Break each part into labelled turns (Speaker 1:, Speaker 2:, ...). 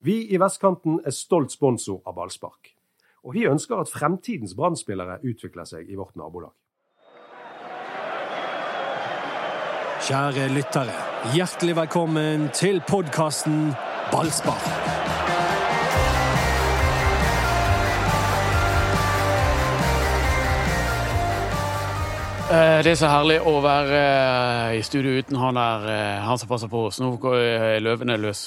Speaker 1: Vi i Vestkanten er stolt sponsor av ballspark. Og vi ønsker at fremtidens brannspillere utvikler seg i vårt nabolag.
Speaker 2: Kjære lyttere, hjertelig velkommen til podkasten Ballspar.
Speaker 3: Eh, Det er så herlig å være eh, i studio uten han der, eh, han som passer på oss. Nå går eh, løvene løs.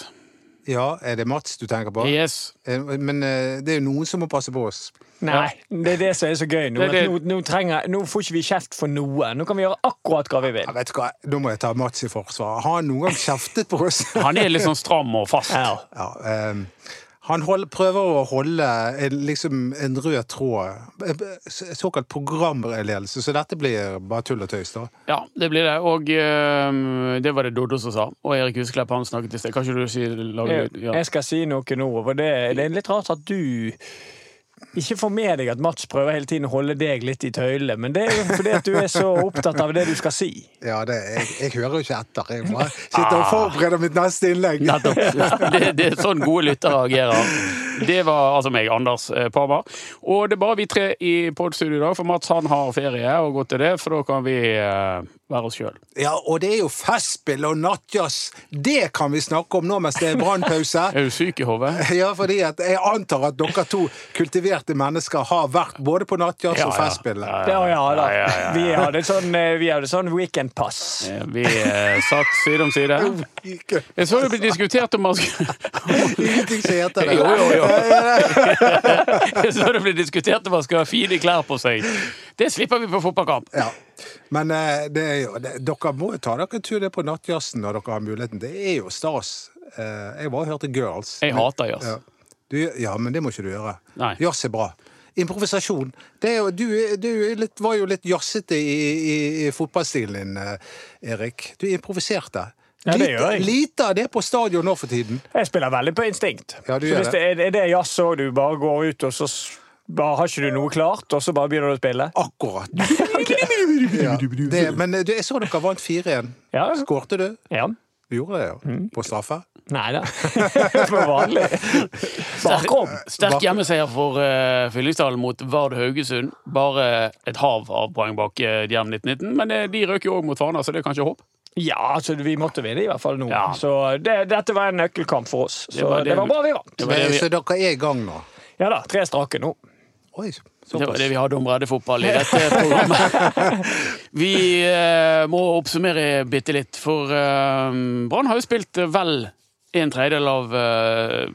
Speaker 4: Ja, er det Mats du tenker på?
Speaker 3: Yes.
Speaker 4: Eh, Men eh, det er jo noen som må passe på oss.
Speaker 5: Nei, det er det som er så gøy nå.
Speaker 3: Det er
Speaker 5: at
Speaker 3: det-
Speaker 5: Nå, nå, trenger, nå får ikke vi kjeft for noe. Nå kan vi gjøre akkurat hva vi
Speaker 4: Ja,
Speaker 5: vil.
Speaker 4: vet du hva, Da må jeg ta Mats i forsvar. Har han noen gang kjeftet på oss?
Speaker 3: Han er litt sånn stram og fast.
Speaker 5: Ja.
Speaker 4: Ja, ehm, han hold, prøver å holde en, liksom en rød tråd. Eh, så- Såkalt programledelse. Så dette blir bare tull og tøys, da.
Speaker 3: Ja, det blir det. Og eh, det var det Doddo som sa. Og Erik Husklepp han snakket i sted. Kan ikke du si lage
Speaker 5: Jeg,
Speaker 3: lyd? Ja.
Speaker 5: Eh, jeg skal si noe nå. For det, det er litt rart at du ikke får med deg at Mats prøver hele tiden å holde deg litt i tøylene, men det er jo fordi at du er så opptatt av det du skal si.
Speaker 4: Ja, det, jeg, jeg hører jo ikke etter. Jeg bare sitter og forbereder mitt neste innlegg.
Speaker 3: Nettopp. Det, det er sånn gode lyttere agerer. Det var altså meg, Anders eh, Parma. Og det er bare vi tre i podstudio i dag, for Mats han har ferie og går til det, for da kan vi eh, være oss sjøl.
Speaker 4: Ja, og det er jo festspill og nattjazz. Det kan vi snakke om nå mens det er brannpause.
Speaker 3: Er du syk i hodet?
Speaker 4: Ja, fordi at jeg antar at dere to kultiverte mennesker har vært både på nattjazz
Speaker 3: Ja,
Speaker 4: og
Speaker 3: ja.
Speaker 4: festspillet.
Speaker 5: Ja, ja da.
Speaker 3: Ja, ja, ja.
Speaker 5: Vi hadde sånn, eh, vi hadde sånn weekendpass.
Speaker 3: Eh, Vi eh, satt side om side.
Speaker 4: Ikke-
Speaker 3: Jeg så det ble diskutert om man skulle
Speaker 4: Ingenting som heter det.
Speaker 3: Jo, jo, jo. Jeg så det ble diskutert om man skulle ha fine klær på seg. Det slipper vi på fotballkamp.
Speaker 4: Ja. Men eh, det er jo, det, dere må jo ta dere en tur ned på nattjazzen når dere har muligheten. Det er jo stas. Eh, jeg bare hørte Girls.
Speaker 3: Jeg hater altså. jazz.
Speaker 4: Ja. Du, ja, men det må ikke du gjøre.
Speaker 3: Nei.
Speaker 4: Jazz er bra. Improvisasjon. Det er jo, du er- du er litt, var jo litt jazzete i, i, i fotballstilen din, eh, Erik. Du improviserte.
Speaker 5: Ja, det gjør jeg.
Speaker 4: Lite- Lite av det på stadion nå for tiden.
Speaker 5: Jeg spiller veldig på instinkt.
Speaker 4: Ja, du
Speaker 5: så
Speaker 4: gjør
Speaker 5: hvis det er, er det jazz òg, du bare går ut, og så s- bare har ikke du noe klart, og så bare begynner du å spille?
Speaker 4: Akkurat. Ja, det, men eh, du, jeg så dere vant 4-1.
Speaker 5: Ja. Mm.
Speaker 4: Skårte du?
Speaker 5: Ja.
Speaker 4: Du gjorde det, ja. På straffe?
Speaker 5: Nei da. For vanlig. Bakrom.
Speaker 3: Sterk hjemmeseier for uh, Fyllingsdalen mot Vard Haugesund. Bare et hav av poeng bak eh, Djem 1919, men eh, de røk jo òg mot Fana, så det er kanskje håp.
Speaker 5: Ja, altså, vi måtte vinne i hvert fall nå.
Speaker 3: Ja.
Speaker 5: Så det, dette var en nøkkelkamp for oss. Så
Speaker 3: Det
Speaker 5: det
Speaker 3: var
Speaker 5: var,
Speaker 3: det-
Speaker 5: bra vi vant.
Speaker 3: Det var det
Speaker 4: Men,
Speaker 3: vi,
Speaker 4: så dere er i gang nå?
Speaker 5: Ja da, tre strake nå.
Speaker 4: Oi,
Speaker 3: det var
Speaker 4: såpass.
Speaker 3: det vi hadde om breddefotball i dette programmet. Vi eh, må oppsummere bitte litt, for eh, Brann har jo spilt eh, vel en tredjedel av, eh,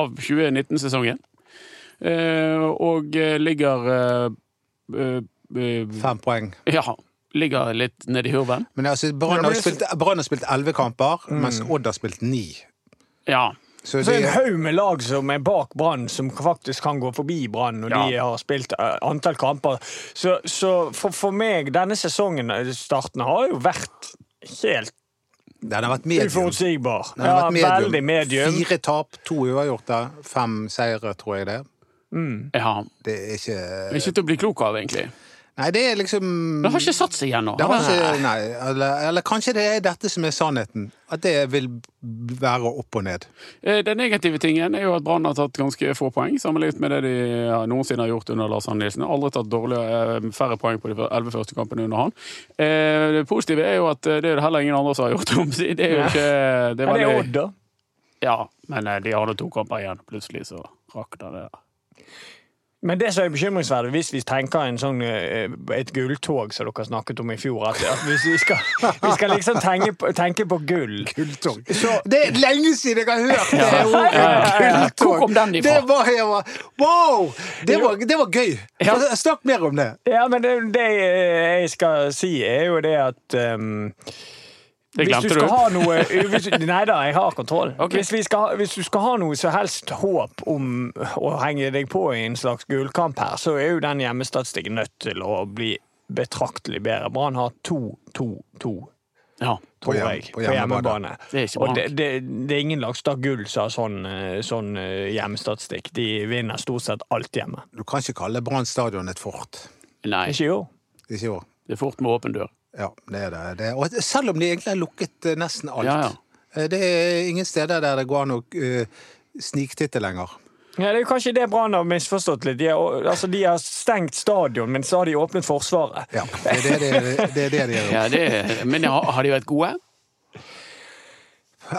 Speaker 3: av 2019-sesongen. Eh, og eh, ligger eh, eh, eh,
Speaker 4: Fem poeng.
Speaker 3: Ja, ligger litt nedi hurven.
Speaker 4: Men altså, Brann har jo spilt- Brann har spilt elleve kamper, mens Odd har spilt ni.
Speaker 3: Ja.
Speaker 4: Så
Speaker 5: Mm. Så er det
Speaker 4: de-
Speaker 5: en haug med lag som er bak Brann, som faktisk kan gå forbi Brann når
Speaker 3: Ja.
Speaker 5: de har spilt eh, antall kamper. Så, så for, for meg, denne sesongen, eh, starten, har jo vært helt
Speaker 4: den har vært medium.
Speaker 5: uforutsigbar.
Speaker 4: Den
Speaker 5: Ja,
Speaker 4: har vært
Speaker 5: veldig medium.
Speaker 4: Fire tap, to uavgjorte, fem seire, tror jeg det. er.
Speaker 3: ja.
Speaker 4: Det er ikke
Speaker 3: Ikke til å bli klok av, egentlig.
Speaker 4: Nei, det er liksom
Speaker 3: Det har ikke satt seg ennå.
Speaker 4: det har ikke, nei, eller, eller kanskje det er dette som er sannheten. At det vil være opp og ned.
Speaker 3: Eh, Den negative tingen er jo at Brann har tatt ganske få poeng, sammenlignet med det de ja, noensinne har gjort under Lars Arne Nilsen. Aldri tatt dårligere, eh, færre poeng på de fyr- elleve første kampene under han. Eh, Det positive er jo at eh, det er det heller ingen andre som har gjort om seg. Det er jo ikke det er
Speaker 5: Men det er
Speaker 3: veldig-
Speaker 5: Odd, da.
Speaker 3: Ja, men eh, de hadde to kamper igjen. Plutselig så rakna det.
Speaker 5: Men det som er bekymringsverdig, hvis vi tenker en sånn, eh, et gulltog som dere snakket om i fjor at, at Hvis vi skal, vi skal liksom tenke på, tenke på gull
Speaker 4: Gulltog.
Speaker 5: Så-
Speaker 4: Det er lenge siden jeg har hørt det
Speaker 3: Ja.
Speaker 4: ordet!
Speaker 3: Ja, ja, ja. Hvor
Speaker 4: Gulltog.
Speaker 3: kom den ifra?
Speaker 4: Det var, jeg var, wow! Det var, det var gøy! Snakk mer om det.
Speaker 5: Ja, men det, det eh, jeg skal si, er jo det at ehm,
Speaker 3: Det
Speaker 5: hvis du
Speaker 3: glemte
Speaker 5: skal
Speaker 3: du.
Speaker 5: ha noe eh, hvis, Nei da, jeg har kontroll.
Speaker 3: Ok.
Speaker 5: Hvis, vi skal, ha- hvis du skal ha noe så helst håp om å henge deg på i en slags gullkamp her, så er jo den hjemmestatistikken nødt til å bli betraktelig bedre. Brann har 2-2-2,
Speaker 3: Ja.
Speaker 5: tror
Speaker 4: hjem-
Speaker 5: jeg,
Speaker 4: på
Speaker 5: på
Speaker 4: hjemmebane.
Speaker 5: hjemmebane.
Speaker 3: Det er ikke
Speaker 5: Og
Speaker 3: bra.
Speaker 5: det, det, det er ingen lag som tar gull som har sånn, eh, sånn eh, hjemmestatistikk. De vinner stort sett alt hjemme.
Speaker 4: Du kan ikke kalle Brann stadion et fort.
Speaker 3: Nei,
Speaker 5: Ikke jo?
Speaker 4: Ikke jo.
Speaker 3: det er fort med åpen dør.
Speaker 4: Ja, det er det. det. Og selv om de egentlig har lukket eh, nesten alt.
Speaker 3: Ja, ja.
Speaker 4: Eh, Det er ingen steder der det går an å eh, sniktitte lenger.
Speaker 5: Ja, det er jo kanskje det Brann har misforstått litt. De har, altså, de har stengt stadion, men så har de åpnet Forsvaret.
Speaker 4: Ja, det er det, det, det, er det de gjør.
Speaker 3: Ja, det, men har, har de vært gode?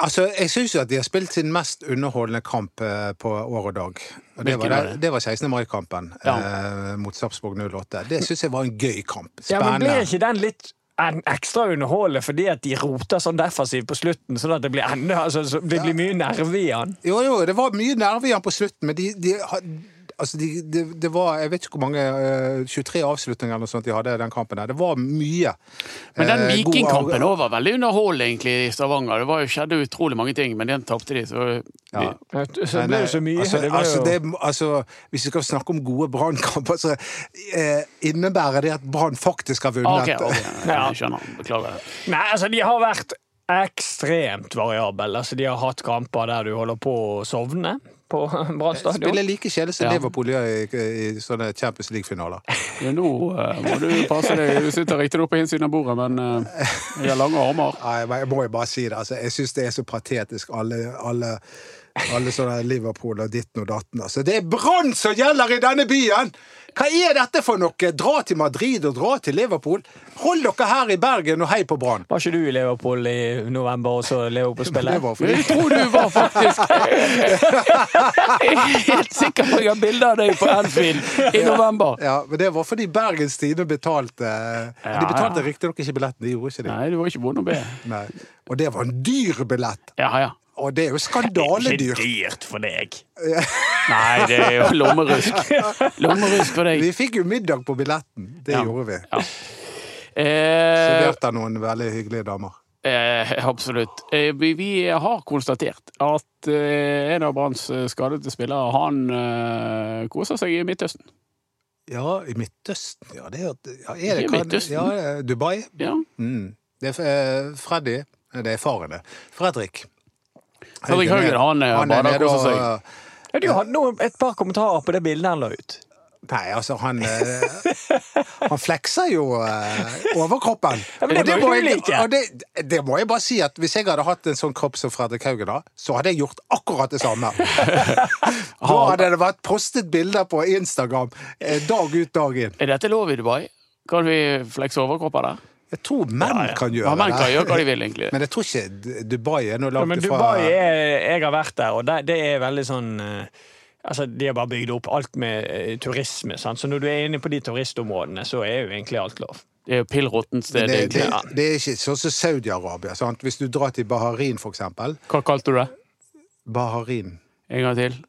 Speaker 4: Altså, jeg syns jo at de har spilt sin mest underholdende kamp eh, på år og dag. Og det,
Speaker 3: Hvilken
Speaker 4: var,
Speaker 3: var
Speaker 4: det,
Speaker 3: det?
Speaker 4: det var 16. mai-kampen eh, mot Sarpsborg 08. Det syns jeg var en gøy kamp.
Speaker 5: Ja, men
Speaker 4: Spennende.
Speaker 5: blir ikke den litt en ekstra underholdende fordi at de roter sånn defensivt på slutten, sånn at det blir enda altså, så Det blir mye nerve i han.
Speaker 4: Jo, jo, det var mye nerve i han på slutten, men de, de had- Altså, de, det, det var Jeg vet ikke hvor mange eh, 23 avslutninger eller noe sånt de hadde i den kampen. der. Det var mye.
Speaker 3: Men den
Speaker 4: eh, god
Speaker 3: vikingkampen
Speaker 4: av-
Speaker 3: også var veldig underholdende egentlig, i Stavanger. Det var jo, skjedde utrolig mange ting, men den tapte de. Så
Speaker 4: Ja.
Speaker 5: Så det
Speaker 4: Men,
Speaker 5: ble
Speaker 4: eh,
Speaker 5: jo så mye.
Speaker 4: Altså,
Speaker 5: det var
Speaker 4: altså,
Speaker 5: jo...
Speaker 4: det, altså, hvis vi skal snakke om gode brannkamper, så eh, innebærer det at Brann faktisk har
Speaker 3: Ah,
Speaker 4: vunnet.
Speaker 3: OK, ok,
Speaker 5: Ja.
Speaker 3: jeg skjønner. Beklager.
Speaker 5: Nei, altså, de har vært ekstremt variable. Altså, de har hatt kamper der du holder på å sovne på Brann stadion.
Speaker 4: Spiller like kjedelig som
Speaker 3: Ja.
Speaker 4: Liverpool gjør i, i sånne Champions League-finaler.
Speaker 3: Ja, nå eh, må du passe deg. Du sitter riktignok på innsiden av bordet, men eh, jeg har lange armer.
Speaker 4: Nei, men Jeg må jo bare si det. Altså, jeg syns det er så patetisk, alle, alle, alle sånne Liverpool og ditten og datten. Altså, det er Brann som gjelder i denne byen! Hva er dette for noe? Dra til Madrid og dra til Liverpool. Hold dere her i Bergen og hei på Brann!
Speaker 5: Var ikke du i Liverpool i november, og så Liverpool spiller?
Speaker 4: Det var fordi
Speaker 3: Jeg tror du var faktisk Jeg er helt sikker på at jeg har bilde av deg på Anfield i november.
Speaker 4: Ja, men det var fordi Bergens Tidende betalte De betalte riktignok ikke billetten, de gjorde ikke det.
Speaker 3: Nei, du var ikke vond å be.
Speaker 4: Nei. Og det var en dyr billett!
Speaker 3: Ja, ja.
Speaker 4: Og det er jo
Speaker 5: Ikke
Speaker 4: skandaledyrt!
Speaker 5: dyrt for deg.
Speaker 3: Nei, det er jo lommerusk. Lommerusk for deg.
Speaker 4: Vi fikk jo middag på billetten. Det
Speaker 3: Ja.
Speaker 4: gjorde vi.
Speaker 3: Eh,
Speaker 4: Servert av noen veldig hyggelige damer.
Speaker 3: Eh, absolutt. Eh, vi, vi har konstatert at eh, en av Branns eh, skadede spillere, han eh, koser seg i Midtøsten.
Speaker 4: Ja, i Midtøsten. Ja, det er, ja, er
Speaker 3: Ikke
Speaker 4: det, kan,
Speaker 3: Midtøsten.
Speaker 4: ja, eh, Dubai.
Speaker 3: Ja.
Speaker 4: Mm. Det er eh, Freddy. Det er faren, det. Fredrik.
Speaker 3: Fredrik Haugen, han, eh,
Speaker 4: er
Speaker 3: bader og
Speaker 4: nede
Speaker 3: koser
Speaker 4: og-
Speaker 5: Ja, du hadde noe, et par kommentarer på det bildet han la ut.
Speaker 4: Nei, altså, han eh, Han flekser jo eh, overkroppen.
Speaker 5: Ja, men det
Speaker 4: Og
Speaker 5: må du
Speaker 4: jeg,
Speaker 5: like.
Speaker 4: og det, det må jeg bare si at hvis jeg hadde hatt en sånn kropp som Fredrik Haugen har, så hadde jeg gjort akkurat det samme. Da hadde det vært postet bilder på Instagram eh, dag ut dag inn.
Speaker 3: Er dette lov i Dubai? Kan vi flekse overkropper der?
Speaker 4: Jeg tror menn kan
Speaker 3: Ja,
Speaker 4: gjøre
Speaker 3: men kan
Speaker 4: det.
Speaker 3: gjøre hva de vil, egentlig.
Speaker 4: Men jeg tror ikke D- Dubai er noe
Speaker 5: Ja,
Speaker 4: langt
Speaker 5: men
Speaker 4: ifra
Speaker 5: Dubai er, jeg har vært der, og det, det er veldig sånn eh, Altså, De har bare bygd opp alt med eh, turisme, sant? så når du er inne på de turistområdene, så er jo egentlig alt lov.
Speaker 3: Det er jo pillråttent
Speaker 4: det,
Speaker 3: sted,
Speaker 4: det,
Speaker 3: egentlig. Ja.
Speaker 4: det er ikke sånn som Saudi-Arabia. sant? Hvis du drar til Baharin, for eksempel.
Speaker 3: Hva kalte du det?
Speaker 4: Baharin.
Speaker 3: En gang til?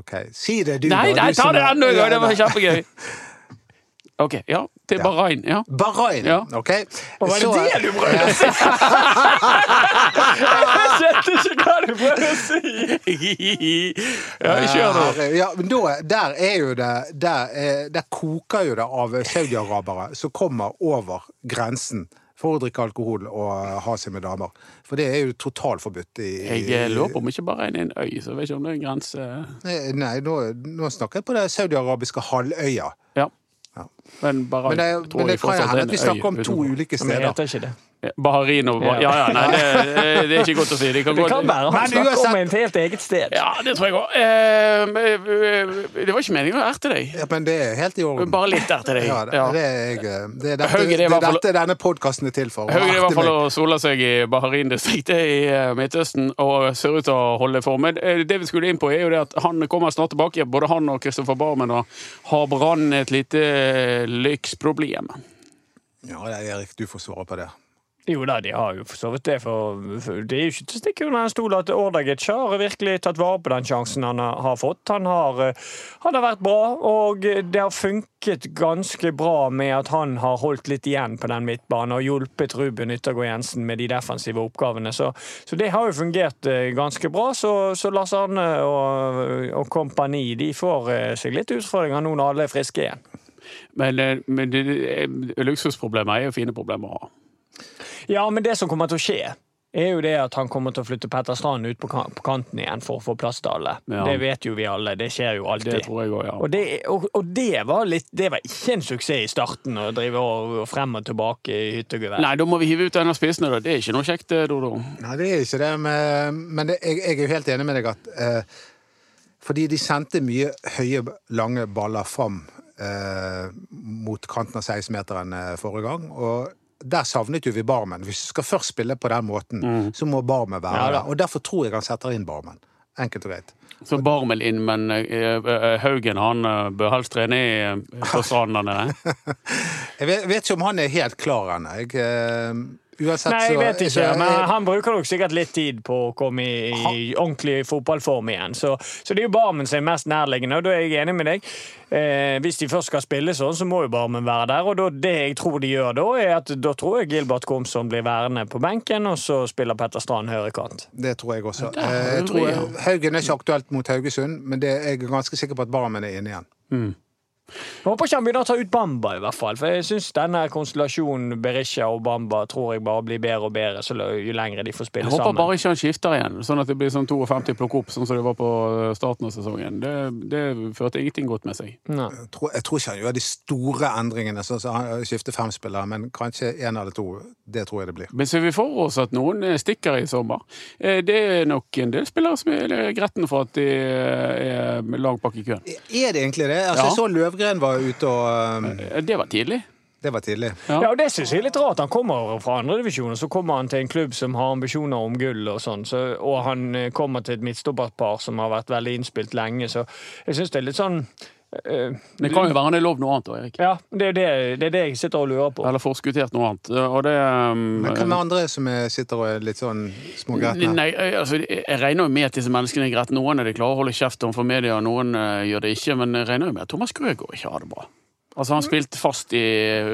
Speaker 4: OK. Si det, du.
Speaker 3: Nei,
Speaker 4: da,
Speaker 3: nei,
Speaker 4: du
Speaker 3: ta
Speaker 4: som
Speaker 3: det
Speaker 4: er-
Speaker 3: enda en gang!
Speaker 4: Ja,
Speaker 3: Det var
Speaker 4: nei.
Speaker 3: kjempegøy. OK. Ja, til Bahrain. Ja.
Speaker 4: Bahrain,
Speaker 3: Ja.
Speaker 4: OK?
Speaker 5: Og var det
Speaker 4: Så- eh,
Speaker 5: det du prøvde å si?! jeg skjønte ikke hva du prøvde å si!
Speaker 3: ja, kjør nå.
Speaker 4: Ja, men da, der er jo det Der, er, der koker jo det av saudiarabere som kommer over grensen for å drikke alkohol og ha seg med damer. For det er jo totalforbudt i
Speaker 3: Jeg eh, lurer på om ikke Bahrain er en øy, så jeg vet ikke om det er en grense
Speaker 4: Nei, Nei, nå, nå snakker jeg på det saudiarabiske halvøya.
Speaker 3: Ja.
Speaker 4: Ja.
Speaker 3: Men Bahrain
Speaker 4: Men det,
Speaker 3: tror
Speaker 4: men det
Speaker 3: jeg
Speaker 4: kan jo
Speaker 3: fortsatt
Speaker 4: hende
Speaker 3: er
Speaker 4: at vi
Speaker 3: en
Speaker 4: snakker
Speaker 3: øy
Speaker 4: om to
Speaker 3: utenfor.
Speaker 4: ulike
Speaker 5: Men det
Speaker 4: steder.
Speaker 5: heter ikke det.
Speaker 3: Bahrain og Bahrain. Ja, ja, nei, det, det er ikke godt å si. De kan
Speaker 5: Det
Speaker 3: godt-
Speaker 5: kan være
Speaker 4: Men
Speaker 5: han snakker
Speaker 4: uansett-
Speaker 5: om et helt eget sted.
Speaker 3: Ja, det tror jeg òg. Eh, det var ikke meningen å erte deg.
Speaker 4: Ja, men det er helt i orden.
Speaker 3: Bare litt erte deg.
Speaker 4: Ja, det,
Speaker 3: Ja.
Speaker 4: det er jeg, det er dette,
Speaker 3: Hauge, det er i
Speaker 4: det er
Speaker 3: hvert fall-
Speaker 4: dette denne podkasten er til for.
Speaker 3: Høyre i hvert fall
Speaker 4: Artig meg.
Speaker 3: å sole seg i Baharin-distriktet i eh, Midtøsten og ser ut til å holde formen. Eh, Det vi skulle inn på, er jo det at han kommer snart tilbake. Både han og Kristoffer Barmen og har Brann et lite eh, lyksproblem.
Speaker 4: Ja, det er Erik, du får svare på det.
Speaker 5: Jo da, de har jo for så vidt det, for, for det er jo ikke til å stikke under en stol at Ordagic har virkelig tatt vare på den sjansen han har har fått. Han har, eh, han har vært bra, og det har funket ganske bra med at han har holdt litt igjen på den midtbanen og hjulpet Ruben Yttergård Jensen med de defensive oppgavene. Så, så det har jo fungert eh, ganske bra. Så, så Lars Arne og, og kompani de får eh, seg litt utfordringer nå når alle er friske igjen.
Speaker 3: Men, eh, men det, eh, luksusproblemer er jo fine problemer å ha.
Speaker 5: Ja, men det som kommer til å skje, er jo det at han kommer til å flytte Petter Strand ut på, kan på kanten igjen for å få plass til alle.
Speaker 3: Ja.
Speaker 5: Det vet jo vi alle. Det skjer jo alltid.
Speaker 3: Det tror jeg òg, ja.
Speaker 5: Og det, og, og det var litt Det var ikke en suksess i starten, å drive og, og frem og tilbake i hytte og gevær.
Speaker 3: Nei, da må vi hive ut en av spissene, da. Det er ikke noe kjekt, eh, Dodo.
Speaker 4: Nei, det er ikke det, men, men det, jeg, jeg er jo helt enig med deg at eh, Fordi de sendte mye høye, lange baller fram eh, mot kanten av 16-meteren eh, forrige gang. og der savnet jo vi Barmen. Hvis du skal først spille på den måten,
Speaker 5: Mm.
Speaker 4: så må Barmen være
Speaker 3: Ja da.
Speaker 4: der. Og derfor tror jeg han setter inn Barmen. Enkelt og greit.
Speaker 3: Så Barmel inn, men eh, eh, Haugen han eh, bør helst trene i eh, på stranden der nede.
Speaker 4: Jeg vet, vet ikke om han er helt klar ennå. Jeg, eh, uansett
Speaker 5: Nei, jeg
Speaker 4: så
Speaker 5: vet ikke.
Speaker 4: så-
Speaker 3: eh,
Speaker 5: Men han bruker nok sikkert litt tid på å komme i, i ordentlig fotballform igjen. Så, så det er jo Barmen som er mest nærliggende, og da er jeg enig med deg. Eh, hvis de først skal spille sånn, så må jo Barmen være der. Og da, det jeg tror de gjør da, er at da tror jeg Gilbert Komsom blir værende på benken, og så spiller Petter Strand høyrekant.
Speaker 4: Det tror jeg også.
Speaker 3: der har
Speaker 4: Eh, Jeg
Speaker 3: du
Speaker 4: tror,
Speaker 3: det,
Speaker 4: Haugen er ikke aktuelt mot Haugesund, men det, jeg er ganske sikker på at Barmen er inne igjen.
Speaker 5: Jeg Håper ikke han begynner å ta ut Bamba, i hvert fall. For jeg syns denne konstellasjonen Berisha og Bamba tror jeg bare blir bedre og bedre så l- jo lengre de får
Speaker 3: Jeg
Speaker 5: spille
Speaker 3: håper
Speaker 5: sammen.
Speaker 3: bare ikke han skifter igjen, sånn at det blir sånn 52 plukk opp, sånn som det var på eh, starten av sesongen. Det, det førte ingenting godt med seg.
Speaker 5: Nei.
Speaker 4: Jeg tror, jeg tror ikke han gjør de store endringene, sånn som han skifter fem spillere, men kanskje én eller to. Det tror jeg det blir.
Speaker 3: Men ser vi for oss at noen eh, stikker i sommer? Eh, Det er nok en del spillere som er gretten for at de eh, er langt bak i køen.
Speaker 4: E, Er det egentlig det? Altså,
Speaker 3: Ja.
Speaker 4: Jeg så Løvgren var ute, og eh,
Speaker 3: Eh, Det var tidlig.
Speaker 4: det var tidlig.
Speaker 3: Ja.
Speaker 5: Ja, og det synes jeg er litt rart. Han kommer fra andredivisjon, og så kommer han til en klubb som har ambisjoner om gull og sånn, så, og han eh, kommer til et midtstopperpar som har vært veldig innspilt lenge, så jeg synes det er litt sånn eh,
Speaker 3: Det kan jo være han er lovd noe annet, da, Erik.
Speaker 5: Ja, det er det, det er det jeg sitter og lurer på.
Speaker 3: Eller forskuttert noe annet. Eh, Og det ehm,
Speaker 4: Men hvem er andre som er- sitter og er litt sånn smågretne?
Speaker 3: Nei, eh, altså, jeg regner jo med at disse menneskene er greit. Noen er de klarer å holde kjeft overfor media, og noen eh, gjør det ikke. Men jeg regner jo med at Thomas Grøgaard ikke har det bra. Altså, Han spilte fast i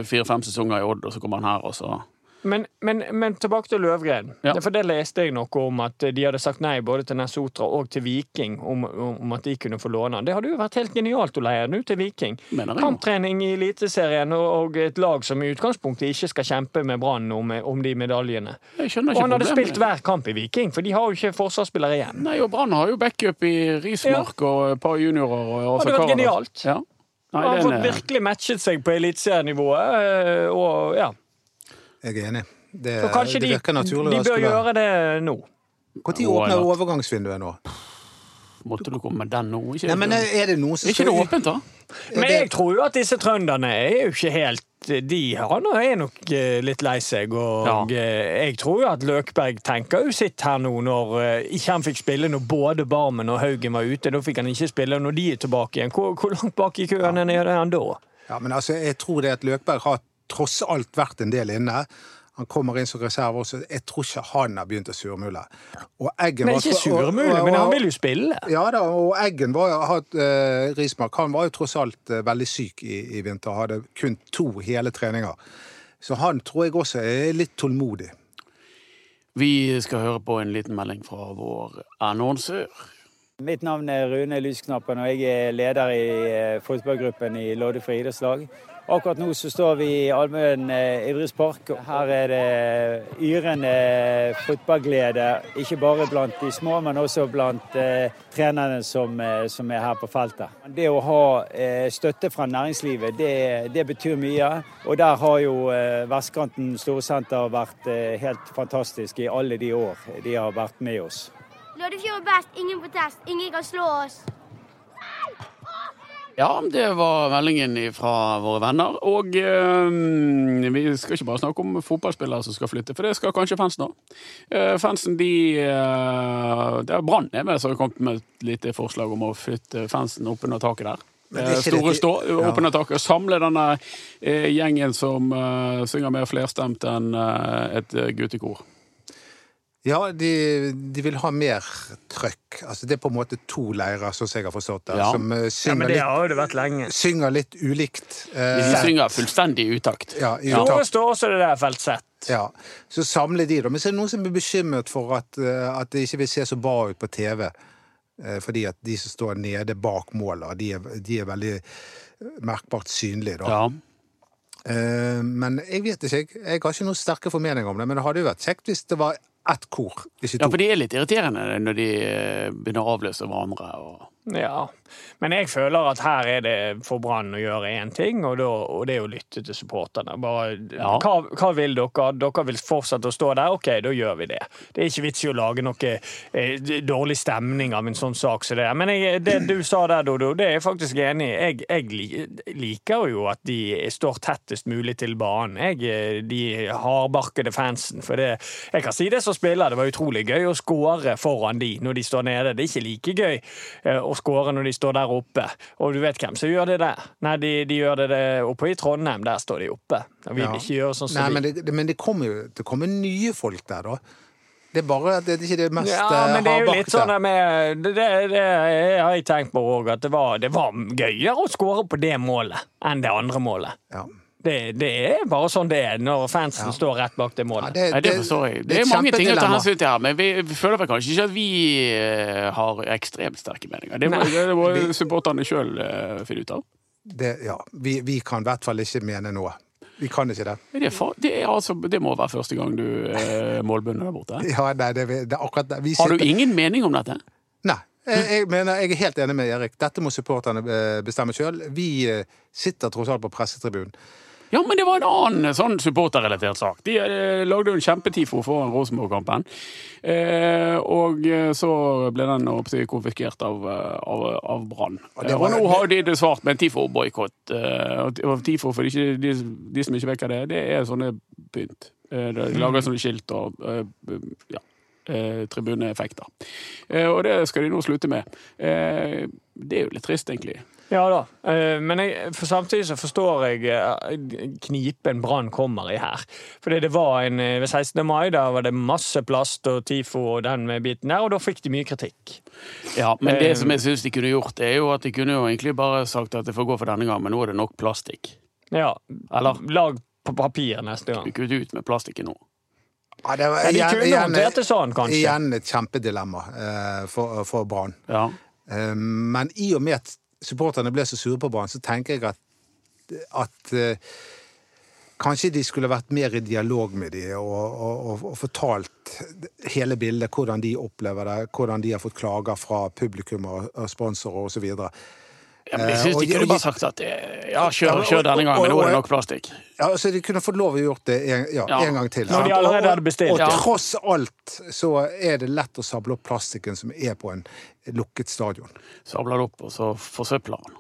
Speaker 3: fire-fem sesonger i Odd, og så kom han her, og så
Speaker 5: Men, men, men tilbake til Løvgren.
Speaker 3: Ja.
Speaker 5: For det leste jeg noe om at de hadde sagt nei både til Nesotra og til Viking om, om at de kunne få låne han. Det hadde jo vært helt genialt å leie han ut til Viking.
Speaker 3: Mener jeg.
Speaker 5: Kamptrening i Eliteserien og, og et lag som i utgangspunktet ikke skal kjempe med Brann om, om de medaljene.
Speaker 3: Jeg skjønner
Speaker 5: Og
Speaker 3: ikke
Speaker 5: han hadde
Speaker 3: problemet.
Speaker 5: spilt hver kamp i Viking, for de har jo ikke forsvarsspillere igjen.
Speaker 3: Nei, og Brann har jo backup i Rismark og et par juniorer. Og, og
Speaker 5: Hadde vært
Speaker 3: Sakara.
Speaker 5: genialt.
Speaker 3: Ja. Nei, eh,
Speaker 5: han har
Speaker 3: det er
Speaker 5: fått
Speaker 3: en,
Speaker 5: virkelig matchet seg på eliteserienivået. eh, Og ja.
Speaker 4: Jeg er enig. Det,
Speaker 5: Så kanskje
Speaker 4: Eh, det
Speaker 5: de,
Speaker 4: virker naturlig.
Speaker 5: de
Speaker 4: å
Speaker 5: bør
Speaker 4: skulle-
Speaker 5: gjøre det nå.
Speaker 4: Når
Speaker 3: Why
Speaker 4: åpner
Speaker 3: not?
Speaker 4: overgangsvinduet nå?
Speaker 3: måtte du komme med den nå? Ikke,
Speaker 4: Nei, men eh, er det noen som
Speaker 3: er ikke det åpent, da?
Speaker 5: Men
Speaker 4: det-
Speaker 5: jeg tror jo at disse trønderne er jo ikke helt de han er nok eh, litt lei seg, og eh, jeg tror jo at Løkberg tenker jo sitt her nå når eh, ikke han fikk spille når både Barmen og Haugen var ute. Da fikk han ikke spille når de er tilbake igjen. Hvor, hvor langt bak i køen er han da?
Speaker 4: Ja, men altså, jeg tror det at Løkberg har tross alt vært en del inne. Han kommer inn som reserve også. Jeg tror ikke han har begynt å surmule. Og Eggen
Speaker 5: Nei,
Speaker 4: var-
Speaker 5: ikke
Speaker 4: og-
Speaker 5: surmulig,
Speaker 4: og-
Speaker 5: men han vil jo spille.
Speaker 4: Ja da, og Eggen var, had, eh, Rismark, han var jo tross alt eh, veldig syk i, i vinter. Hadde kun to hele treninger. Så han tror jeg også er litt tålmodig.
Speaker 3: Vi skal høre på en liten melding fra vår annonsør.
Speaker 6: Mitt navn er Rune Lysknappen, og jeg er leder i eh, fotballgruppen i Loddefri idrettslag. Akkurat nå så står vi i Almøen eh, idrettspark. Her er det yrende fotballglede, ikke bare blant de små, men også blant eh, trenerne som, eh, som er her på feltet. Det å ha eh, støtte fra næringslivet, det, det betyr mye. Og der har jo eh, Vestkanten Storsenter vært eh, helt fantastisk i alle de år de har vært med oss.
Speaker 7: Loddefjord er best, ingen protest, ingen kan slå oss.
Speaker 3: Ja, det var meldingen fra våre venner. Og eh, vi skal ikke bare snakke om fotballspillere som skal flytte, for det skal kanskje fansen òg. fansen, de eh, det er Brann er med, som har kommet med et lite forslag om å flytte fansen oppunder taket der.
Speaker 4: Men det er
Speaker 3: Eh,
Speaker 4: ikke
Speaker 3: Store
Speaker 4: dette-
Speaker 3: stå,
Speaker 4: Ja.
Speaker 3: oppunder taket. Samle denne eh, gjengen som eh, synger mer flerstemt enn eh, et eh, guttekor.
Speaker 4: Ja, de, de vil ha mer trøkk. Altså, det er på en måte to leirer, sånn som jeg har forstått det,
Speaker 3: Ja.
Speaker 4: som eh, synger,
Speaker 5: har jo det vært lenge.
Speaker 4: litt, synger litt ulikt.
Speaker 3: De
Speaker 4: eh,
Speaker 3: synger fullstendig i utakt.
Speaker 4: ja, i utakt.
Speaker 5: Store står også det der feltsett.
Speaker 4: Ja, Så samle de, da. Men så er det noen som blir bekymret for at, eh, at det ikke vil se så bra ut på TV. eh, Fordi at de som står nede bak målet, de er, de er veldig eh, merkbart synlige, da.
Speaker 3: Ja.
Speaker 4: Eh, Men jeg vet ikke, jeg, jeg har ikke noen sterke formeninger om det. Men det hadde jo vært kjekt hvis det var ett kor, ikke
Speaker 3: Ja,
Speaker 4: to.
Speaker 3: for de er litt irriterende når de eh, begynner å avløse hverandre. Og...
Speaker 5: Ja, men jeg føler at her er det for Brann å gjøre én ting, og, da, og det er å lytte til supporterne. Bare,
Speaker 3: Ja.
Speaker 5: hva, hva vil dere? Dere vil fortsette å stå der? OK, da gjør vi det. Det er ikke vits i å lage noe eh, d- dårlig stemning av en sånn sak som det er. Men jeg, det du sa der, Dodo, det er jeg faktisk enig i. Jeg, jeg li- liker jo at de står tettest mulig til banen. Jeg, eh, de hardbarkede fansen. For det, jeg kan si det som spiller, det var utrolig gøy å skåre foran de når de står nede. Det er ikke like gøy eh, å skåre når de står der oppe. Og du vet hvem som gjør det der? Nei, de, de gjør det der oppe i Trondheim. Der står de oppe. Og vi vil
Speaker 4: Ja.
Speaker 5: ikke gjøre sånn
Speaker 4: Nei,
Speaker 5: som
Speaker 4: men
Speaker 5: de.
Speaker 4: det, det- men det kommer jo det kommer nye folk der, da. Det er bare at det er ikke det mest
Speaker 5: Ja,
Speaker 4: eh,
Speaker 5: men det er jo litt
Speaker 4: hardbakte.
Speaker 5: sånn der med Det, det, det har jeg tenkt på òg, at det var, det var gøyere å skåre på det målet enn det andre målet.
Speaker 4: Ja.
Speaker 5: Det, det er bare sånn det er når fansen står rett bak det målet.
Speaker 4: Ja,
Speaker 3: Nei, det forstår jeg. Det er mange ting å ta hensyn til her, men vi vi føler vel kanskje ikke at vi eh, har ekstremt sterke meninger. Det må, det må supporterne sjøl finne ut av.
Speaker 4: Det, ja, vi, vi kan i hvert fall ikke mene noe. Vi kan ikke det.
Speaker 3: Men Det, er fa- det, er altså, det må være første gang du eh, målbunder der borte.
Speaker 4: Ja, nei, det, det er akkurat det. Vi
Speaker 3: Har du
Speaker 4: sitter-
Speaker 3: ingen mening om dette?
Speaker 4: Nei. Jeg, jeg, mener, jeg er helt enig med Erik. Dette må supporterne eh, bestemme sjøl. Vi eh, sitter tross alt på pressetribunen.
Speaker 3: Ja, men det var en annen sånn supporterrelatert sak. De eh, lagde jo en kjempetifo foran Rosenborg-kampen. Eh, og eh, så ble den holdt på å si, konfiskert av, eh, av, av Brann.
Speaker 4: Og
Speaker 3: Eh,
Speaker 4: det
Speaker 3: Og
Speaker 4: var-
Speaker 3: nå har de det svart med en tifo-boikott. Eh, og t- og tifo, for de, ikke- de, de som ikke vet hva det er, det er sånne pynt. Eh, de
Speaker 4: Mm.
Speaker 3: lager sånne skilt og eh, ja, eh, tribuneeffekter. Eh, og det skal de nå slutte med. Eh, det er jo litt trist, egentlig.
Speaker 5: Ja da, eh, men jeg, for samtidig så forstår jeg eh, knipen Brann kommer i her. Fordi det var en eh, ved 16. mai, da var det masse plast og TIFO og den med biten der, og da fikk de mye kritikk.
Speaker 3: Ja, men det
Speaker 5: Eh,
Speaker 3: som jeg syns de kunne gjort, det er jo at de kunne jo egentlig bare sagt at det får gå for denne gang, men nå er det nok plastikk.
Speaker 5: Ja,
Speaker 3: Eller?
Speaker 5: lag på papir neste gang.
Speaker 3: Kutt ut med plastikken nå.
Speaker 4: Ja, det var
Speaker 5: Ja, de
Speaker 4: igjen-
Speaker 5: kunne
Speaker 4: igjen-
Speaker 5: håndtert det sånn, kanskje.
Speaker 4: Igjen et kjempedilemma eh, for, for Brann.
Speaker 3: Ja.
Speaker 4: Eh, men i og med at supporterne ble så sure på Brann, så tenker jeg at, at eh, Kanskje de skulle vært mer i dialog med de og, og, og, og fortalt hele bildet, hvordan de opplever det, hvordan de har fått klager fra publikum og, og sponsorer osv.
Speaker 3: ja men jeg
Speaker 4: Eh,
Speaker 3: syns
Speaker 4: og-
Speaker 3: de kunne
Speaker 4: og-
Speaker 3: bare sagt at eh, ja, kjør, kjør denne gang,
Speaker 4: og-
Speaker 3: men nå
Speaker 4: og-
Speaker 3: er det nok plastikk.
Speaker 4: Ja, altså De kunne fått lov å gjort det en, ja,
Speaker 3: Ja.
Speaker 4: en gang til.
Speaker 5: Når de
Speaker 4: sant?
Speaker 5: allerede
Speaker 4: Og-
Speaker 5: hadde bestilt,
Speaker 4: Og,
Speaker 3: ja.
Speaker 4: og tross alt så er det lett å sable opp plastikken som er på en lukket stadion.
Speaker 3: Sabler det opp, og så forsøpler han.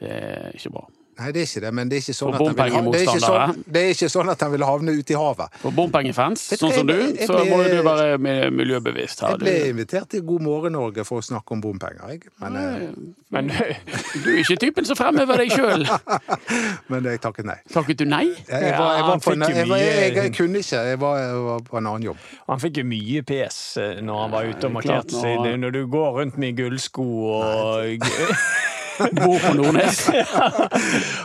Speaker 3: Det er ikke bra.
Speaker 4: Nei, det er ikke det, men det er ikke sånn,
Speaker 3: Og
Speaker 4: at den, vil ha, det er ikke
Speaker 3: bompengemotstandere.
Speaker 4: sånn, det er ikke sånn at den vil havne ute i havet.
Speaker 3: For bompengefans,
Speaker 4: Vet du
Speaker 3: sånn
Speaker 4: hva,
Speaker 3: som du,
Speaker 4: jeg- jeg
Speaker 3: så
Speaker 4: ble-
Speaker 3: må jo du være mi- miljøbevisst her.
Speaker 4: Jeg ble
Speaker 3: Du,
Speaker 4: invitert til God morgen Norge for å snakke om bompenger, jeg. Men, eh,
Speaker 5: Men
Speaker 3: du er ikke typen som fremhever deg sjøl.
Speaker 4: men jeg takket nei.
Speaker 3: Takket du nei?
Speaker 4: Jeg, jeg, var, jeg, var
Speaker 5: han
Speaker 4: på en,
Speaker 5: fikk jo
Speaker 4: jeg, var- jeg,
Speaker 5: mye-
Speaker 4: jeg kunne ikke, jeg var, jeg var på en annen jobb.
Speaker 5: han fikk jo mye pes eh, når han var ute og
Speaker 3: Ja, det er klart,
Speaker 5: markerte seg.
Speaker 3: når-
Speaker 5: Når du går rundt med gullsko og
Speaker 3: Bor på Nordnes?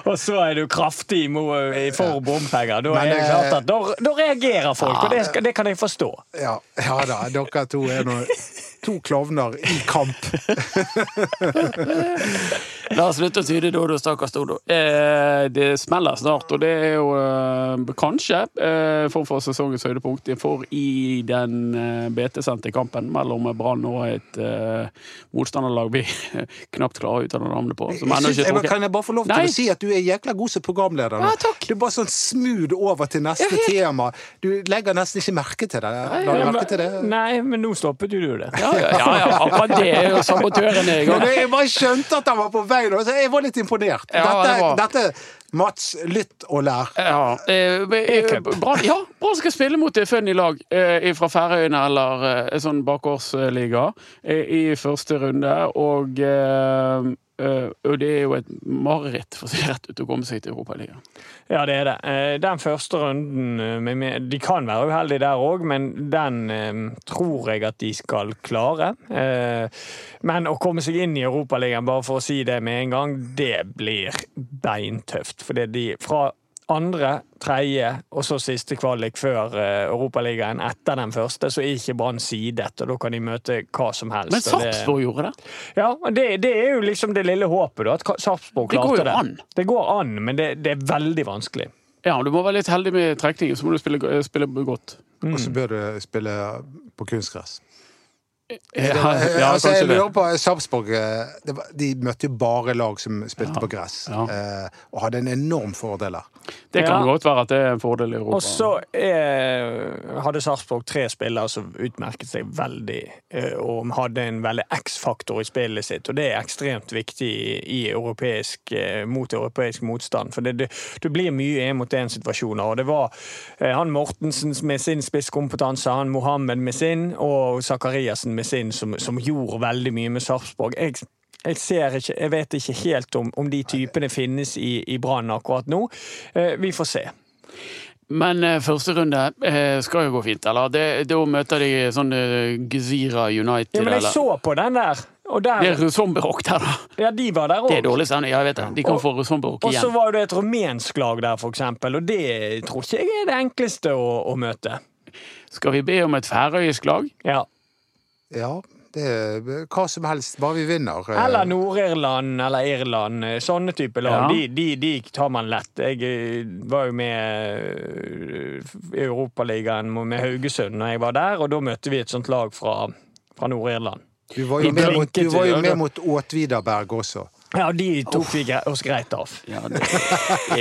Speaker 5: Og så er du kraftig imo- for bompenger. Da,
Speaker 4: Men,
Speaker 5: er det
Speaker 4: eh,
Speaker 5: klart at, da, da reagerer folk, og det, skal, det kan jeg forstå.
Speaker 4: Ja, ja da, dere to er nå to klovner i kamp.
Speaker 3: La oss slutte å tyde Dodo, stakkars Dodo. Eh, det smeller snart, og det er jo eh, kanskje eh, form for sesongens høydepunkt. For i den eh, BT-sendte kampen mellom Brann og et eh, motstanderlag vi knapt klarer å uttale navnet på, som ennå ikke
Speaker 4: Jeg
Speaker 3: er
Speaker 4: bare- Kan
Speaker 3: trukket
Speaker 4: jeg bare få lov
Speaker 3: Nei.
Speaker 4: til å si at du er jækla god som programleder? nå?
Speaker 3: Ja, takk.
Speaker 4: Du er bare sånn smooth over til neste tema. Du legger nesten ikke merke til det. La du merke til det?
Speaker 5: Nei, men nå stoppet jo du det.
Speaker 3: Ja, ja, ja, ja, akkurat det er jo sabotørene i gang.
Speaker 4: Men jeg bare skjønte at han var på vei nå, så jeg var litt imponert.
Speaker 3: Ja, det var-
Speaker 4: Dette, dette Mats, lytt og lær.
Speaker 3: Ja, eh, men, eh, Brann ja, Brann skal spille mot det funny lag eh, fra Færøyene eller eh, en sånn bakgårdsliga eh, i første runde. Og, eh, eh, og det er jo et mareritt, for å si det rett ut, å komme seg til Europaligaen.
Speaker 5: Ja, det er det. Eh, Den første runden eh, med- med- De kan være uheldige der òg, men den eh, tror jeg at de skal klare. Eh, Men å komme seg inn i Europaligaen, bare for å si det med en gang, det blir beintøft. Fordi de fra andre, tredje og så siste kvalik før eh, Europaligaen etter den første, så er ikke Brann sidet, og da kan de møte hva som helst.
Speaker 3: Men
Speaker 5: og det-
Speaker 3: Sarpsborg gjorde det.
Speaker 5: ja, og det, det er jo liksom det lille håpet, da. At Ka- Sarpsborg
Speaker 3: Det går
Speaker 5: klarte
Speaker 3: jo
Speaker 5: det.
Speaker 3: an.
Speaker 5: Det går an, men det, det er veldig vanskelig.
Speaker 3: Ja, Du må være litt heldig med trekningen, så må du spille, go- eh, spille godt.
Speaker 4: og så bør du spille på kunstgress.
Speaker 3: Ja,
Speaker 4: Det-
Speaker 3: Eh, ja,
Speaker 4: altså, jeg
Speaker 3: kanskje det.
Speaker 4: lurer på, Sarpsborg eh, det var- de møtte jo bare lag som spilte på gress,
Speaker 3: ja.
Speaker 4: eh, og hadde en enorm fordel der.
Speaker 3: Det kan
Speaker 5: Ja.
Speaker 3: godt være at det er en fordel i Europa.
Speaker 5: Og så eh, hadde Sarpsborg tre spillere som utmerket seg veldig, eh, og hadde en veldig X-faktor i spillet sitt, og det er ekstremt viktig i, i europeisk, eh, mot europeisk motstand. For det, det, du blir mye en mot én-situasjoner, og det var eh, han Mortensen med sin spisskompetanse, han Mohammed med sin, og Zakariassen med sin, som, som gjorde veldig mye med Sarpsborg. Jeg jeg, ser ikke, jeg vet ikke helt om, om de typene finnes i, i Brann akkurat nå. Eh, vi får se.
Speaker 3: Men eh, første runde eh, skal jo gå fint, eller? Det, da møter de sånn eh, Gezira United,
Speaker 5: Ja, men jeg
Speaker 3: eller?
Speaker 5: så på den der. Og
Speaker 3: Det
Speaker 5: der,
Speaker 3: er zombierock der, da.
Speaker 5: ja, de var der
Speaker 3: Det er
Speaker 5: òg.
Speaker 3: dårlig stemning, ja, jeg vet det. De kan få zombierock
Speaker 5: Og så
Speaker 3: igjen.
Speaker 5: var det et rumensk lag der, for eksempel, og det tror ikke jeg er det enkleste å, å møte.
Speaker 3: Skal vi be om et færøysk lag?
Speaker 5: Ja.
Speaker 4: Ja, det er hva som helst, bare vi vinner. eh.
Speaker 5: Eller Nord-Irland eller Irland. eh, Sånne typer lag.
Speaker 3: Ja.
Speaker 5: De, de, de tar man lett. Jeg eh, var jo med eh, i Europaligaen med Haugesund når jeg var der, og da møtte vi et sånt lag fra, fra Nord-Irland.
Speaker 4: Du var jo med mot,
Speaker 5: blinket
Speaker 4: du var jo
Speaker 5: til-
Speaker 4: med mot Åtvidaberg også.
Speaker 5: Ja, de tok vi gre- oss greit av.
Speaker 3: Ja, det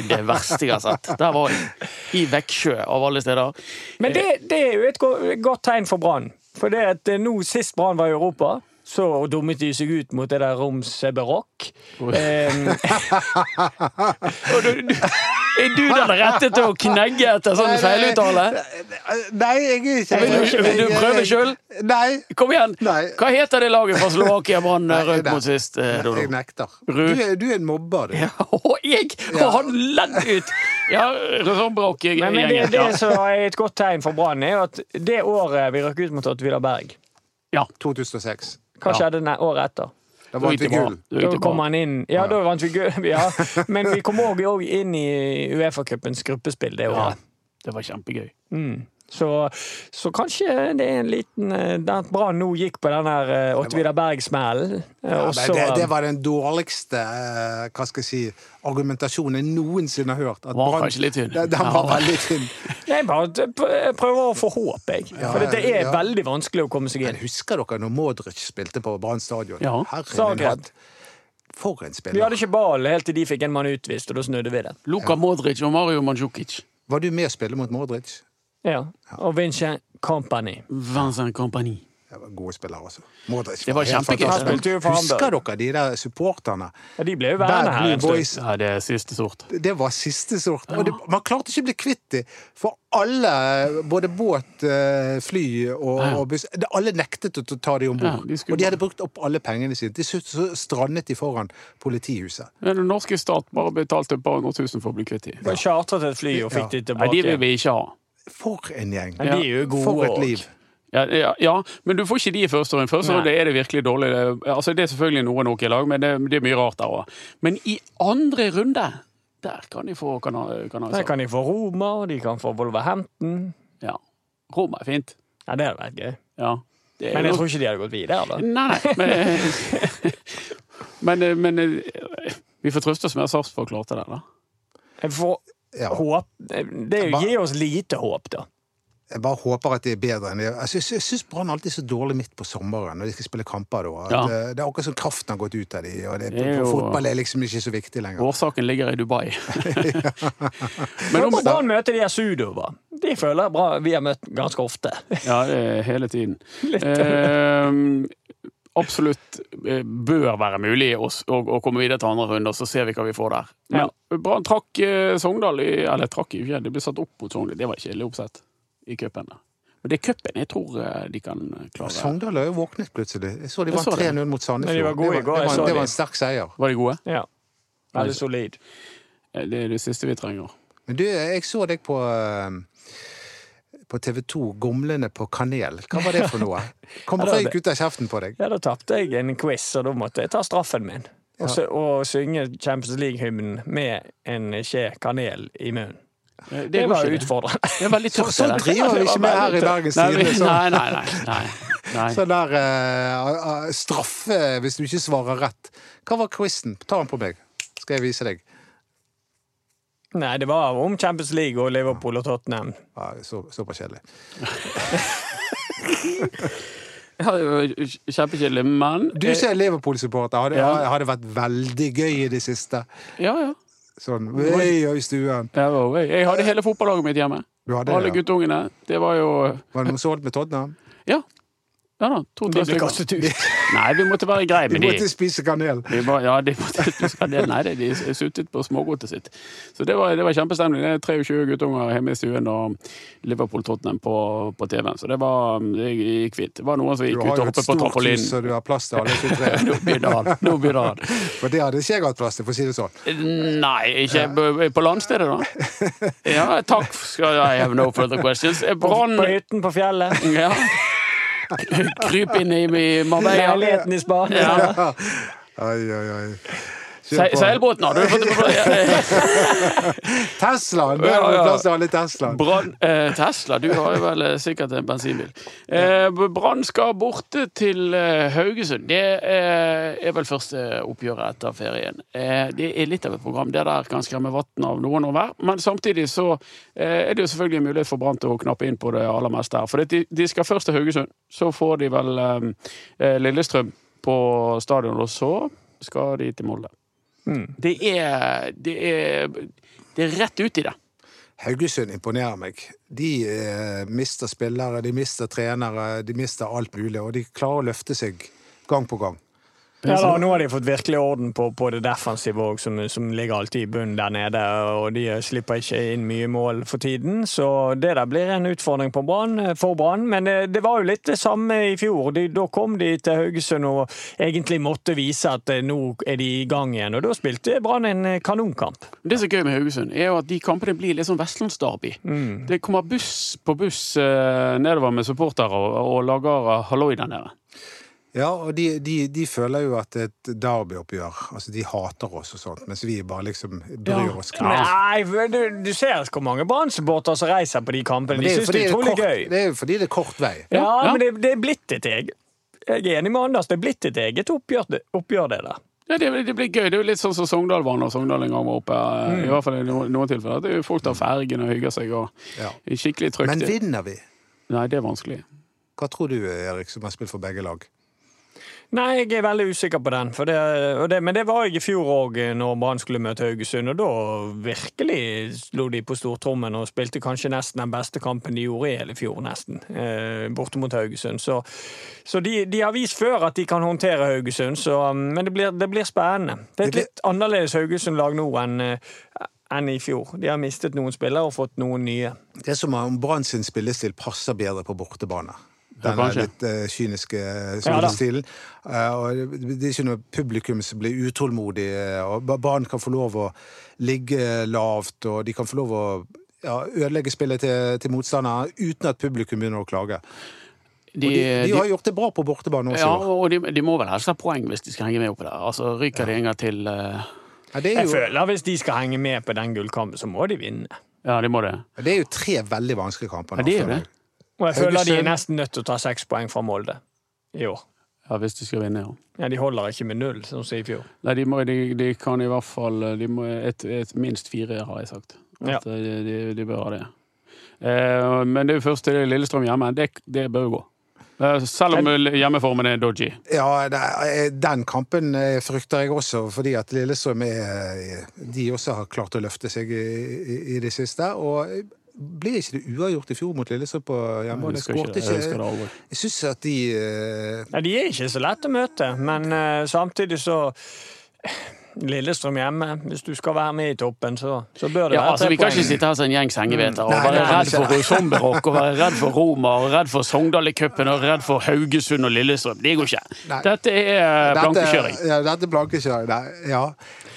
Speaker 3: er det verste jeg har sett. Der var jeg. I Veksjø, av alle steder.
Speaker 5: Men det, det er jo et go- godt tegn for Brann. For det at eh, nå sist Brann var i Europa, så dummet de seg ut mot det der Ehm, Romseberok.
Speaker 3: Og du, du, er du den rette til å knegge etter sånn feiluttale?
Speaker 4: Nei, jeg er ikke
Speaker 3: Vil du- vil du prøve selv?
Speaker 4: Nei.
Speaker 3: Kom igjen!
Speaker 4: Nei.
Speaker 3: Hva heter det laget fra Slovakia man
Speaker 4: Nei,
Speaker 3: røk
Speaker 4: nei.
Speaker 3: mot sist? eh, Dodo?
Speaker 4: Jeg nekter. Du
Speaker 3: Ruud.
Speaker 4: er, du er en mobber, du.
Speaker 3: Ja, og jeg! Og han ledd ut! Ja,
Speaker 5: Men, men det,
Speaker 3: reformbrokk-gjengen.
Speaker 5: det
Speaker 3: Ja.
Speaker 5: som er et godt tegn for Brann, er jo at det året vi røk ut mot Åttvila Berg,
Speaker 4: 2006.
Speaker 5: hva
Speaker 3: Ja.
Speaker 5: skjedde ne- året etter?
Speaker 4: Da
Speaker 3: Da
Speaker 4: vant
Speaker 3: gikk
Speaker 4: vi
Speaker 3: det bra.
Speaker 4: gull.
Speaker 3: Da
Speaker 5: Da
Speaker 3: gikk det
Speaker 5: kom
Speaker 3: bra.
Speaker 5: han inn. Ja, da vant vi gull. Ja. Men vi kom òg inn i Uefa-cupens gruppespill det
Speaker 3: Ja,
Speaker 5: året.
Speaker 3: det var kjempegøy.
Speaker 5: Så, så kanskje det er en liten eh, det at Brann nå gikk på den der Åttvida Berg-smellen. eh,
Speaker 4: Ja,
Speaker 5: og
Speaker 4: men
Speaker 5: så-
Speaker 4: det, det var den dårligste eh, hva skal jeg si, argumentasjonen jeg noensinne har hørt. At
Speaker 3: Var
Speaker 4: Brann-
Speaker 3: kanskje litt tynn.
Speaker 4: Den, den var
Speaker 3: Ja.
Speaker 4: veldig tynn.
Speaker 5: Jeg bare t- p- jeg prøver å få håp, jeg.
Speaker 4: Ja,
Speaker 5: For det er
Speaker 4: ja.
Speaker 5: veldig vanskelig å komme seg
Speaker 4: Men
Speaker 5: inn.
Speaker 4: husker dere når Modric spilte på Brann stadion?
Speaker 3: Ja.
Speaker 4: Herre min
Speaker 5: Zagreb.
Speaker 4: hatt. For en
Speaker 5: Vi
Speaker 4: spiller.
Speaker 5: hadde ikke ball helt til de fikk en mann utvist, og da snudde vi det.
Speaker 3: Luka Modric og Mario Mandzukic.
Speaker 4: Var du med å spille mot Modric?
Speaker 5: Ja. Og Vincent Company.
Speaker 3: Vincent Company.
Speaker 4: Ja, det var Gode spillere, altså. Modric
Speaker 3: Det var
Speaker 4: helt
Speaker 3: kjempegøy.
Speaker 4: fantastisk.
Speaker 5: Han spilte jo for
Speaker 4: Husker dere de der supporterne?
Speaker 5: Ja, de ble jo værende
Speaker 4: Bad
Speaker 5: her
Speaker 4: Blue
Speaker 5: en stund.
Speaker 4: Boys.
Speaker 3: Ja, det er siste sort.
Speaker 4: Det var siste sort. Og det, man klarte ikke å bli kvitt dem. For alle, både båt, eh, fly og,
Speaker 3: Ja.
Speaker 4: og buss de- Alle nektet å ta dem om
Speaker 3: Ja,
Speaker 4: bord.
Speaker 3: de skulle-
Speaker 4: og de hadde brukt opp alle pengene sine. Til slutt så strandet de foran politihuset.
Speaker 3: Den norske stat bare betalte et par hundre tusen for å bli kvitt dem.
Speaker 5: Bare chartret et fly og fikk de
Speaker 3: Nei,
Speaker 5: tilbake.
Speaker 3: de vil vi ikke ha.
Speaker 4: For en gjeng!
Speaker 5: Men de er jo gode
Speaker 4: For et
Speaker 5: også.
Speaker 4: liv.
Speaker 3: Ja, ja, ja, men du får ikke de i første runde. Første
Speaker 5: Nei.
Speaker 3: runde er det virkelig dårlig. Det- Altså, det er selvfølgelig noe nok i lag, men det, det er mye rart der òg. Men i andre runde, der kan de få Cana-
Speaker 5: Der
Speaker 3: Canaria.
Speaker 5: kan de få Roma, og de kan få Wolverhampton.
Speaker 3: Ja. Roma er fint.
Speaker 5: Ja, det hadde vært gøy.
Speaker 3: Ja. Det er
Speaker 5: Men jeg
Speaker 3: nok-
Speaker 5: tror ikke de hadde gått videre. da.
Speaker 3: Nei, nei. Men, men, men vi får trøste oss med at Sarpsborg klarte det, da.
Speaker 5: Jeg får
Speaker 4: Ja.
Speaker 5: håp. Det
Speaker 4: Hva-
Speaker 5: gir oss lite håp, da.
Speaker 4: Jeg bare håper at de er bedre enn de Jeg syns- Jeg syns Brann alltid er så dårlig midt på sommeren når de skal spille kamper da. At,
Speaker 3: Ja.
Speaker 4: eh, Det er akkurat som kraften har gått ut av dem, og det,
Speaker 3: Det er jo-
Speaker 4: fotball er liksom ikke så viktig lenger.
Speaker 3: Årsaken ligger i Dubai. men
Speaker 5: Nå
Speaker 3: om,
Speaker 5: må Brann møte de her Sudova. De føler jeg bra, vi har møtt ganske ofte.
Speaker 3: Ja, det er hele tiden. Ehm, absolutt eh, bør være mulig å, s- å, å komme videre til andre runde, og så ser vi hva vi får der. Men Brann trakk eh, Sogndal i Eller trakk i fjell, det ble satt opp mot Sogndal. Det var kjedelig oppsett i cupen. da. Men det er cupen jeg tror eh, de kan klare.
Speaker 4: Altså, Sogndal har jo våknet plutselig. Jeg så de
Speaker 3: Jeg
Speaker 4: vant
Speaker 3: så det.
Speaker 4: 3-0 mot Sandefjord.
Speaker 5: Men de var gode i
Speaker 4: det,
Speaker 5: går,
Speaker 4: var, det,
Speaker 5: jeg så
Speaker 4: var, det
Speaker 5: de.
Speaker 4: var en sterk seier.
Speaker 3: Var de gode?
Speaker 5: Ja. Veldig solid.
Speaker 3: Eh, Det er det siste vi trenger.
Speaker 4: Men du, jeg så deg på eh, på TV 2, Gomlene på kanel. Hva var det for noe? Kom
Speaker 5: Ja, det var
Speaker 4: røyk ut av kjeften på deg.
Speaker 5: Ja, da tapte jeg en quiz, og da måtte jeg ta straffen min. Og, sy og synge Champions League-hymnen med en skje kanel i munnen.
Speaker 3: Eh,
Speaker 5: Det,
Speaker 3: går
Speaker 5: var
Speaker 3: ikke,
Speaker 5: utfordrende.
Speaker 3: Det er veldig
Speaker 4: Så,
Speaker 3: tøft.
Speaker 4: sånn
Speaker 3: det der.
Speaker 4: driver vi ikke med her i Bergens
Speaker 3: Nei, vi-
Speaker 4: Tidende.
Speaker 3: nei,
Speaker 4: Sånn,
Speaker 3: nei, nei, nei, nei.
Speaker 4: sånn der eh, eh, straffe hvis du ikke svarer rett. Hva var quizen? Ta den på meg, skal jeg vise deg.
Speaker 5: Nei, det var om Champions League og Liverpool og Tottenham.
Speaker 4: Ja, så, Såpass kjedelig.
Speaker 3: Ja, det var Kjempekjedelig, men eh,
Speaker 4: Du som er Liverpool-supporter, har det
Speaker 3: Ja.
Speaker 4: har det vært veldig gøy i det siste?
Speaker 3: Ja, ja.
Speaker 4: Sånn øy, øy, stuen.
Speaker 3: Der var jeg. jeg hadde hele fotballaget mitt hjemme.
Speaker 4: Eh. Du hadde
Speaker 3: Alle
Speaker 4: det, ja.
Speaker 3: guttungene. Det var jo
Speaker 4: Var det noen som holdt med Tottenham?
Speaker 3: Ja. Ja da. To-tre stykker. Nei, vi måtte være greie
Speaker 4: Du
Speaker 3: med de.
Speaker 4: måtte spise kanel.
Speaker 3: Vi var, ja, de måtte du skal det. Nei, det- de suttet på smågodtet sitt. Så det var, det var kjempestemning. Det er 23 guttunger hjemme i stuen og Liverpool-Tottenham på, på TV-en. Så det, var, det gikk fint. Det var noen som
Speaker 4: Du
Speaker 3: gikk ut
Speaker 4: har
Speaker 3: og
Speaker 4: jo et
Speaker 3: hoppet på
Speaker 4: stort hus, så
Speaker 3: trampolinen.
Speaker 4: du har plass til alle 23.
Speaker 3: Nå begynner han. Nå begynner han.
Speaker 4: For det hadde ikke jeg hatt plass til, for å si det sånn.
Speaker 3: Nei, ikke på- på landstedet, da. Ja, takk. skal- I have no further questions.
Speaker 5: På
Speaker 3: Brann
Speaker 5: hytten på fjellet.
Speaker 3: ja. Kryp inn i i Marbella.
Speaker 5: Leiligheten i Spania.
Speaker 3: Ja.
Speaker 4: Oi, oi, oi.
Speaker 3: Se- Seilbåten har du fått på plass.
Speaker 4: Teslaen! Der
Speaker 3: Ja,
Speaker 4: har
Speaker 3: ja.
Speaker 4: du plass til alle Teslaen.
Speaker 3: Brann eh, Tesla, du har jo vel eh, sikkert en bensinbil. Eh, Brann skal borte til eh, Haugesund. Det eh, er vel første oppgjøret etter ferien. Eh, det er litt av et program. Det der kan skremme vann av noen og hver. Men samtidig så eh, er det jo selvfølgelig en mulighet for Brann til å knappe inn på det aller meste her. For det, de, de skal først til Haugesund. Så får de vel eh, eh, Lillestrøm på stadion, og så skal de til Molde. Det er Det er, det er rett ut i det.
Speaker 4: Haugesund imponerer meg. De eh, mister spillere, de mister trenere, de mister alt mulig, og de klarer å løfte seg gang på gang.
Speaker 5: Ja, da,
Speaker 4: Liksom.
Speaker 5: nå har de fått virkelig orden på, på det defensive òg, som, som ligger alltid i bunnen der nede. Og de slipper ikke inn mye mål for tiden, så det der blir en utfordring på Brann- for Brann. Men eh, det var jo litt det samme i fjor. De, da kom de til Haugesund og egentlig måtte vise at eh, nå er de i gang igjen. Og da spilte Brann en eh, kanonkamp.
Speaker 3: Det som er gøy med Haugesund, er jo at de kampene blir litt sånn Vestlandsderby.
Speaker 4: Mm.
Speaker 3: Det kommer buss på buss eh, nedover med supportere og, og lager eh, halloi der nede.
Speaker 4: Ja, og de, de, de føler jo at det er et derbyoppgjør. Altså, de hater oss og sånt, mens vi bare liksom bryr oss knapt.
Speaker 5: Nei, men du, du ser hvor mange Brann-supportere som reiser på de kampene.
Speaker 4: Men
Speaker 5: De
Speaker 4: jo
Speaker 5: syns det er
Speaker 4: fordi
Speaker 5: utrolig
Speaker 4: kort,
Speaker 5: gøy.
Speaker 4: det er jo fordi det er kort vei.
Speaker 5: Ja,
Speaker 3: ja.
Speaker 5: men det, det er blitt et eget Jeg er enig med Anders, det er blitt et eget oppgjør, oppgjør det der.
Speaker 3: Ja, det, det blir gøy. Det er jo litt sånn som Sogndal var når Sogndal en gang var oppe. eh,
Speaker 4: Mm.
Speaker 3: I hvert fall i noen, noen tilfeller. Det er jo folk tar fergen og hygger seg. og
Speaker 4: Ja.
Speaker 3: Skikkelig trygt.
Speaker 4: Men vinner vi?
Speaker 3: Nei, det er vanskelig.
Speaker 4: Hva tror du, Erik, som har spilt for begge lag?
Speaker 5: Nei, jeg er veldig usikker på den. For det, og det, men det var jeg i fjor òg, når Brann skulle møte Haugesund. Og da virkelig slo de på stortrommen og spilte kanskje nesten den beste kampen de gjorde i hele fjor, nesten. Eh, borte mot Haugesund. Så, så de, de har vist før at de kan håndtere Haugesund, så, um, men det blir, det blir spennende. Det er et litt annerledes Haugesund-lag nå enn eh, enn i fjor. De har mistet noen spillere og fått noen nye.
Speaker 4: Det er som om Brann sin spillestil passer bedre på bortebane.
Speaker 3: Ja,
Speaker 4: Den
Speaker 3: kanskje.
Speaker 4: litt eh, kyniske
Speaker 5: Ja da.
Speaker 4: spillestilen. Eh, og det det er ikke noe publikum som blir utålmodig. eh, og ba- Brann kan få lov å ligge eh, lavt, og de kan få lov å ja, ødelegge spillet til, til motstanderen uten at publikum begynner å klage. De,
Speaker 3: De,
Speaker 4: de
Speaker 3: de-
Speaker 4: har gjort det bra på bortebane også.
Speaker 3: ja, og de, de må vel helst ha poeng hvis de skal henge med opp der. Altså, Ryker de en gang til eh,
Speaker 4: Ja, det, er
Speaker 5: Jeg
Speaker 4: jo,
Speaker 5: føler hvis de skal henge med på den gullkampen, så må de vinne.
Speaker 3: Ja, de må det.
Speaker 4: det er jo tre veldig vanskelige kamper.
Speaker 3: Ja,
Speaker 4: nå,
Speaker 3: det er jo
Speaker 4: føler
Speaker 3: det.
Speaker 4: jeg.
Speaker 5: Og jeg føler de er
Speaker 4: Haugesund-
Speaker 5: nesten nødt til å ta seks poeng fra Molde i år.
Speaker 3: Ja, Hvis de skal vinne, ja.
Speaker 5: Ja, De holder ikke med null, som sier i fjor.
Speaker 3: Nei, de, må, de, de kan i hvert fall eh, de må, et, et minst fire, har jeg sagt.
Speaker 5: Ja.
Speaker 3: At eh, de, de, de bør ha det. Eh, men det er jo først til Lillestrøm hjemme. Det, det bør jo gå. Eh, selv om hjemmeformen er dodgy.
Speaker 4: Ja, det er- den kampen eh, frykter jeg også, fordi at Lillestrøm er eh, De også har klart å løfte seg i, i, i det siste. Og ble ikke det uavgjort i fjor mot Lillestrøm på hjemmebane?
Speaker 3: husker ikke
Speaker 4: Skårte
Speaker 3: det. Jeg husker det aldri.
Speaker 4: ikke Jeg syns at de eh,
Speaker 5: Ja, de er ikke så lett å møte, men eh, samtidig så eh, Lillestrøm hjemme, hvis du skal være med i toppen, så, så bør det
Speaker 3: Ja,
Speaker 5: være
Speaker 3: altså,
Speaker 5: tre
Speaker 3: vi kan ikke
Speaker 5: poeng.
Speaker 3: sitte her som en gjeng sengevetere og
Speaker 4: Nei,
Speaker 3: være
Speaker 4: det kan
Speaker 3: redd
Speaker 4: vi ikke.
Speaker 3: for Sommerrock og være redd for Roma og redd for Sogndal i cupen og redd for Haugesund og Lillestrøm. Det går ikke.
Speaker 4: Nei.
Speaker 3: Dette er eh, blankekjøring.
Speaker 4: Dette, ja, dette er blankekjøring. Nei, ja.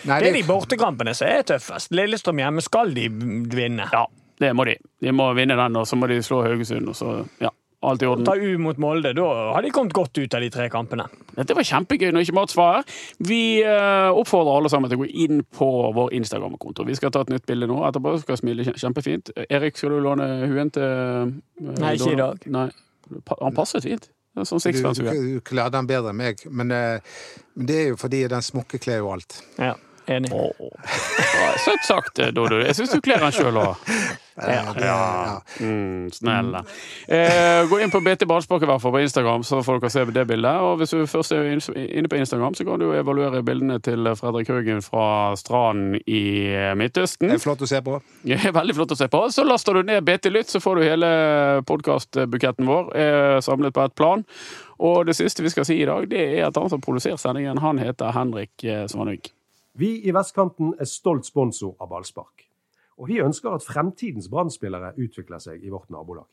Speaker 4: Nei,
Speaker 5: Det er de bortekampene som er tøffest. Lillestrøm hjemme skal de vinne.
Speaker 3: Ja, det må de. De må vinne den, og så må de slå Haugesund, og så Ja. Alt i orden.
Speaker 5: Ta U mot Molde, da har de kommet godt ut av de tre kampene.
Speaker 3: Dette var kjempegøy når ikke Mats var her. Vi eh, oppfordrer alle sammen til å gå inn på vår Instagram-konto. Vi skal ta et nytt bilde nå etterpå. Skal smile kje- kjempefint. Erik, skal du låne huen til eh,
Speaker 5: Nei, ikke i
Speaker 3: Donald?
Speaker 5: dag.
Speaker 3: Nei. Pa- Han passet fint. Det er Sånn
Speaker 4: du, du,
Speaker 3: sixpence-hue.
Speaker 4: du kler den bedre enn meg, men, eh, men det er jo fordi den smokken kler jo alt.
Speaker 5: Ja. Enig.
Speaker 3: Ja, Søtt sagt, eh, Dodo. Jeg syns du kler den sjøl òg.
Speaker 4: Ja, Eh, det, ja.
Speaker 3: Mm, snill. Eh, gå inn på BT Ballspark i hvert fall på Instagram, så får dere se det bildet. Og hvis du først er inn- inne på Instagram, så kan du evaluere bildene til Fredrik Haugen fra stranden i
Speaker 4: Det
Speaker 3: Midtøsten.
Speaker 4: er flott å se på.
Speaker 3: Det er veldig flott å se på. Så laster du ned BT Lytt, så får du hele podkastbuketten vår eh, samlet på ett plan. Og det siste vi skal si i dag, det er at han som produserer sendingen, han heter Henrik eh, Svanvik.
Speaker 1: Vi i Vestkanten er stolt sponsor av Ballspark. Og vi ønsker at fremtidens brann utvikler seg i vårt nabolag.